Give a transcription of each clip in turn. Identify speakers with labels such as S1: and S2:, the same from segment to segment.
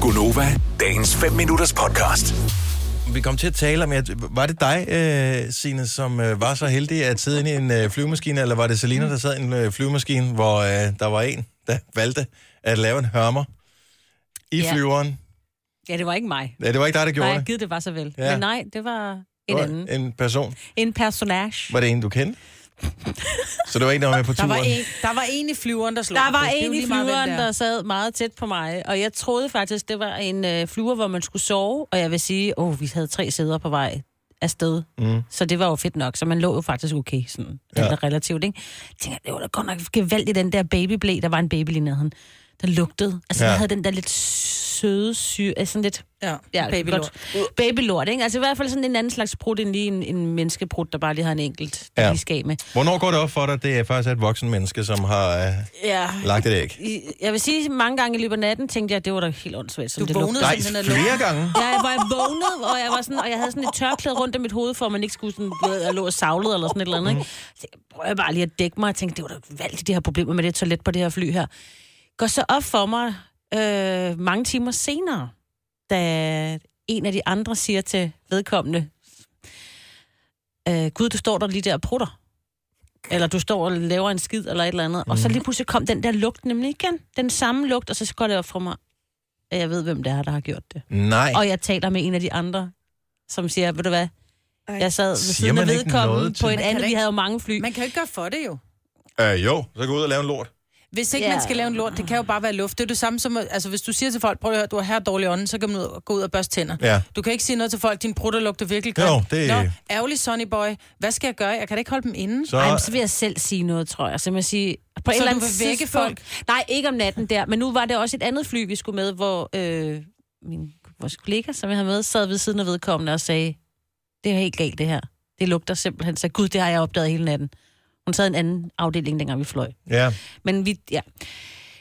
S1: Gunova, dagens 5 minutters podcast.
S2: vi kom til at tale om, at var det dig, øh, Signe, som øh, var så heldig at sidde inde i en øh, flyvemaskine, eller var det Selina, der sad i en øh, flyvemaskine, hvor øh, der var en, der valgte at lave en hørmer i
S3: Ja.
S2: flyveren?
S3: Ja, det var ikke mig.
S2: Ja, det var ikke dig, der gjorde
S3: nej,
S2: det.
S3: givet det var så vel.
S2: Ja.
S3: Ja. Men nej, det var en
S2: det
S3: anden.
S2: var en person.
S3: En personage.
S2: Var det en, du kendte? så det var ikke noget med på
S4: Der
S2: turen?
S4: var, en, der var en i flyveren, der slog
S3: Der var
S4: på. Det er jo
S3: en i
S4: lige meget, hvem
S3: flyveren,
S4: det er.
S3: der sad meget tæt på mig, og jeg troede faktisk, det var en øh, flyver, hvor man skulle sove, og jeg vil sige, åh, oh, vi havde tre sæder på vej afsted, mm. så det var jo fedt nok, så man lå jo faktisk okay, sådan,
S2: Ja.
S3: ja. den der relativt, ikke? Jeg tænker, det var da godt nok gevaldigt, den der babyblæ, der var en baby lige nærheden, der lugtede, altså
S2: Ja.
S3: ja. den havde den der lidt søde syre, altså sådan lidt
S4: Ja,
S3: Ja,
S4: babylort.
S3: godt. Babylort, ikke? Altså i hvert fald sådan en anden slags prut end lige en, en menneskeprut, der bare lige har en enkelt, der
S2: Ja.
S3: ja. lige skal af med.
S2: Hvornår går det op for dig, det er faktisk et voksen menneske, som har øh,
S3: Ja.
S2: lagt et æg?
S3: Jeg vil sige, mange gange i løbet af natten tænkte jeg, at det var da helt åndssvagt, som
S4: Du
S3: det
S4: vågnede
S3: lugtede.
S2: Nej,
S4: sådan, den er
S2: flere
S4: lukket.
S2: gange.
S3: Ja, jeg var jeg vågnede, og jeg, var sådan, og jeg havde sådan et tørklæde rundt om mit hoved, for at man ikke skulle sådan, du ved, jeg lå og savlede eller sådan et eller andet. Ikke? Så jeg prøver bare lige at dække mig og tænkte, det var da valgt, de her problemer med det toilet på det her fly her. Går så op for mig øh, mange timer senere, da en af de andre siger til vedkommende, øh, Gud, du står der lige der og prutter. Eller du står og laver en skid eller et eller andet. Mm. Og så lige pludselig kom den der lugt nemlig igen. Den samme lugt, og så går det op for mig, at jeg ved, hvem det er, der har gjort det.
S2: Nej.
S3: Og jeg taler med en af de andre, som siger, ved du hvad,
S5: Ej.
S3: jeg sad ved
S2: Siger
S3: siden af
S2: man ikke noget
S3: vedkommende
S2: til-
S3: på
S2: Man
S3: et
S4: kan da
S3: andet, vi
S4: ikke-
S3: havde jo mange fly.
S4: Man kan jo ikke gøre for det jo.
S2: Øh, jo, så gå ud og lave en lort.
S4: Hvis ikke
S3: Ja.
S4: man skal lave en lort, det kan jo bare være luft. Det er det samme som, at- altså hvis du siger til folk, prøv at høre, du har her dårlig ånden, så kan man ud og- gå ud og børste tænder.
S2: Ja.
S4: Du kan ikke sige noget til folk, din brutter lugter virkelig
S2: Jo,
S4: grimt.
S2: det-
S4: Nå, ærgerlig Sonny Boy, hvad skal jeg gøre? Jeg kan da ikke holde dem inde.
S2: Så,
S3: Ej, men så vil jeg selv sige noget, tror jeg. Så, må jeg sige, på et
S4: Så
S3: eller
S4: du
S3: andet
S4: vil vække
S3: tidspunkt- Nej, ikke om natten der. Men nu var det også et andet fly, vi skulle med, hvor øh, min vores kollega, som jeg havde med, sad ved siden af vedkommende og sagde, det er helt galt det her. Det lugter simpelthen. Så gud, det har jeg opdaget hele natten. Hun sad i en anden afdeling, dengang vi fløj.
S2: ja.
S3: Men vi, ja.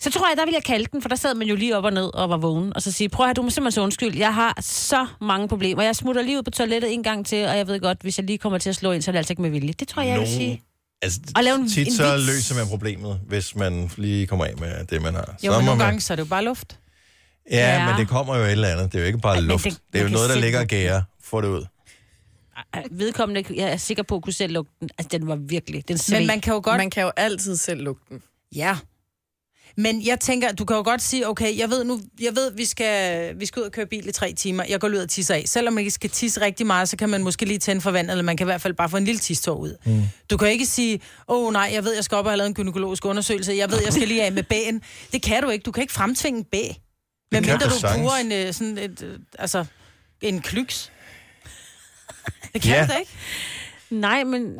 S3: Så tror jeg, der ville jeg kalde den, for der sad man jo lige op og ned og var vågen, og så sige, prøv at høre, du må simpelthen så undskyld, jeg har så mange problemer. Jeg smutter lige ud på toilettet en gang til, og jeg ved godt, hvis jeg lige kommer til at slå ind, så er det altså ikke med vilje. Det tror jeg, jeg vil
S2: Nogen-
S3: sige.
S2: Altså,
S3: Og lave en-
S2: tit
S3: en
S2: så
S3: vits.
S2: løser man problemet, hvis man lige kommer af med det, man har.
S4: Jo,
S2: Så
S4: men
S2: må
S4: nogle
S2: man-
S4: gange, så er det jo bare luft.
S2: Ja,
S3: Ja.
S2: men det kommer jo et eller andet. Det er jo ikke bare
S3: Ej, men
S2: luft. Det,
S3: det-
S2: det er jo
S3: man kan
S2: noget, der
S3: se
S2: ligger og
S3: det.
S2: gærer. Få det ud.
S3: Ej, Vedkommende, jeg er sikker på, at kunne selv lugte den. Altså, den var virkelig, den sved.
S4: Men man kan jo godt
S5: Man kan jo altid selv lugte den.
S4: Ja. Men jeg tænker, du kan jo godt sige, okay, jeg ved nu, jeg ved, vi skal, vi skal ud og køre bil i tre timer. Jeg går lige ud og tisser af. Selvom man ikke skal tisse rigtig meget, så kan man måske lige tænde for vand, eller man kan i hvert fald bare få en lille tistor ud. Mm. Du kan ikke sige, åh oh, nej, jeg ved, jeg skal op og have lavet en gynækologisk undersøgelse. Jeg ved, jeg skal lige af med bæen. Det kan du ikke. Du kan ikke fremtvinge en bæ. Men
S2: kan
S4: mindre
S2: du
S4: du
S2: sagtens.
S4: bruger en, øh, sådan et, øh, altså, en klyks. Det kan
S2: Ja.
S4: yeah. du da ikke.
S3: Nej, men...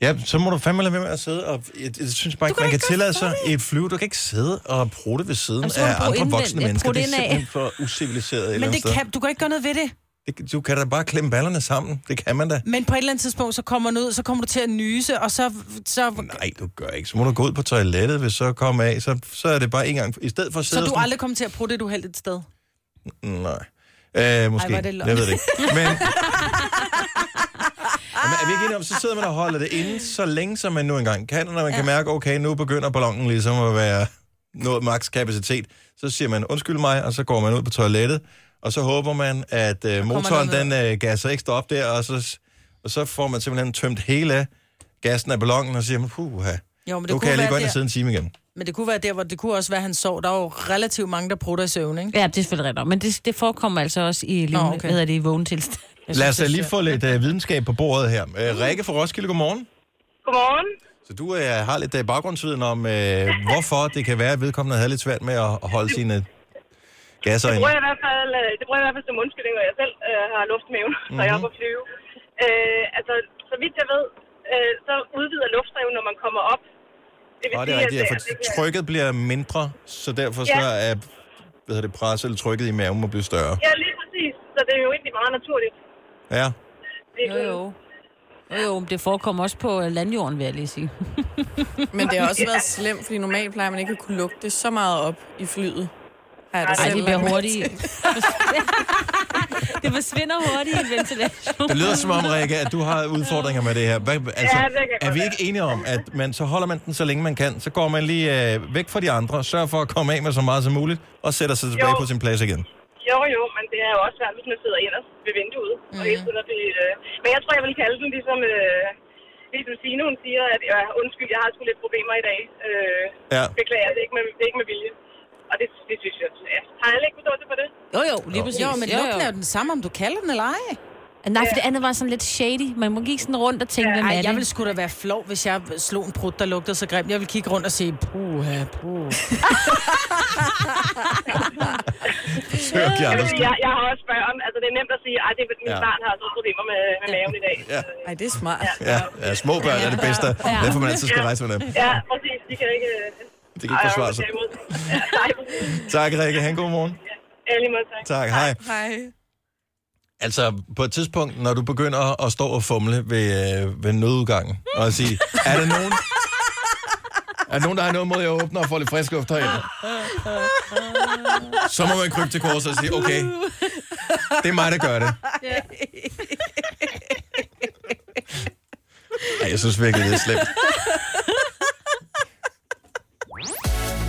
S2: Ja, så må du fandme lade være med at sidde og... Jeg, jeg synes bare ikke,
S4: kan
S2: man
S4: da
S2: kan
S4: ikke
S2: tillade sig et flyve. Du kan ikke sidde og bruge det ved siden
S3: Jamen, så må
S2: af
S3: du bruge
S2: andre
S3: indvendt-
S2: voksne
S3: ja,
S2: mennesker.
S3: bruge
S2: Det er
S3: det indad.
S2: simpelthen for usiviliseret et eller
S4: Men
S2: andet
S4: det kan, du kan ikke gøre noget ved det.
S2: sted. Det, du kan da bare klemme ballerne sammen. Det kan man da.
S4: Men på et eller andet tidspunkt, så kommer den ud, så kommer du til at nyse, og så, så
S2: Nej, du gør ikke. Så må du gå ud på toilettet, hvis så kommer af. Så, så er det bare en gang... I stedet for at sidde
S4: Så du
S2: sådan-
S4: aldrig kom til at bruge det uheldigt sted?
S2: Nej. Øh, måske.
S4: Ej,
S2: Ej,
S4: hvor er
S2: det
S4: det
S2: jeg
S4: løgn.
S2: ved det ikke. Men... Jamen, er vi ikke enige om, så sidder man og holder det inde så længe, som man nu engang kan, og når man ja. kan mærke, okay, nu begynder ballonen ligesom at være nået maks kapacitet, så siger man, undskyld mig, og så går man ud på toilettet, og så håber man, at øh, motoren den øh, gasser ekstra op der, og så, og så får man simpelthen tømt hele af gassen af ballonen, og så siger man, puha,
S4: Jo, men det,
S2: nu kan
S4: kunne
S2: jeg lige
S4: være
S2: gå ind og
S4: der,
S2: sidde en time igen.
S4: men det kunne være der, hvor det kunne også være, at han sov. Der er jo relativt mange, der prutter i søvn, ikke?
S3: Ja, det er selvfølgelig rigtigt. nok. Men det, det forekommer altså også i, levende,
S4: Nå, okay.
S3: hvad hedder det, i vågen tilstand.
S2: Lad os øh, lige få lidt øh, videnskab på bordet her. Øh, Rikke fra Roskilde, godmorgen.
S6: Godmorgen.
S2: Så du øh, har lidt øh, baggrundsviden om, øh, hvorfor det kan være, at vedkommende havde lidt svært med at, at holde sine gasser
S6: Det
S2: ind.
S6: bruger jeg i hvert fald, øh, det bruger jeg i hvert fald som undskyldning, og jeg selv øh, har luftmaven, mm-hmm. når jeg er på
S2: Mhm.
S6: flyve. Øh, altså, så vidt jeg ved, øh, så udvider luftmaven, når man kommer op. Det
S2: Og det er
S6: sige,
S2: rigtigt, ja,
S6: at
S2: for
S6: det- det kan-
S2: trykket bliver mindre, så derfor så
S6: Ja.
S2: er hvad hedder det, presset eller trykket i maven må blive større.
S6: Ja, lige præcis. Så det er jo egentlig meget naturligt.
S2: Ja.
S6: Det er
S3: Jo,
S6: sådan-
S3: jo. Jo, jo, men det forekommer også på øh, landjorden, vil jeg lige sige.
S5: Men det har også været slemt, fordi normalt plejer man ikke at kunne lugte så meget op i flyet. Har jeg da
S6: Ej,
S3: Ej,
S5: selv
S3: de bliver
S5: lagt mærke
S3: hurtige. det forsvinder hurtigt i en ventilation.
S2: Det lyder som om, Rikke, at du har udfordringer med det her. Hvad, altså,
S6: Ja, det kan godt
S2: er vi
S6: være.
S2: ikke enige om, at man, så holder man den så længe man kan, så går man lige øh, væk fra de andre, sørger for at komme af med så meget som muligt, og sætter sig tilbage
S6: Jo.
S2: på sin plads igen.
S6: Jo, jo, men det er jo også svært, hvis man sidder inderst ved vinduet. Mm. Og
S3: Mhm.
S6: hele tiden er det, øh... Men jeg tror, jeg vil kalde den ligesom... Øh... Ligesom Signe, hun siger, at ja, undskyld, jeg har sgu lidt problemer i dag. Øh,
S2: Ja.
S6: Beklager, det er ikke med, det er ikke med vilje. Og det, det synes jeg, ja. har jeg ikke forståelse for det?
S3: Jo, jo, lige præcis.
S4: Jo, men lugten er jo den samme, om du kalder den eller ej.
S3: Nej, for det andet var sådan lidt shady. Man må ikke sådan rundt og tænke, hvem er
S4: Ej, jeg
S3: det?
S4: ville sgu da være flov, hvis jeg slog en prut, der lugtede så grimt. Jeg ville kigge rundt og sige, puha, puh.
S2: Søg de andre.
S6: Altså, jeg, jeg har også børn. Altså, det er nemt at sige, at min
S2: Ja.
S6: ja. barn har så problemer med, med maven i dag.
S2: Ja.
S5: til. Ej, det er smart.
S2: Ja, ja, små børn er det bedste.
S3: Ja.
S2: Derfor man altid skal rejse med dem.
S6: Ja, præcis. De kan ikke... øh,
S2: De kan ikke forsvare sig.
S6: argumentere imod. Ja, nej, præcis.
S2: Tak, Rikke. Ha' en god morgen.
S6: Ja, lige måde, tak.
S2: Tak, hej.
S5: Hej.
S2: Altså, på et tidspunkt, når du begynder at stå og fumle ved, øh, ved nødudgangen, og sige, er der nogen... Er der nogen, der har noget mod, at jeg åbner og får lidt frisk luft herinde? Så må man krybe til korset og sige, okay, det er mig, der gør det. Ej, jeg synes virkelig, det er slemt.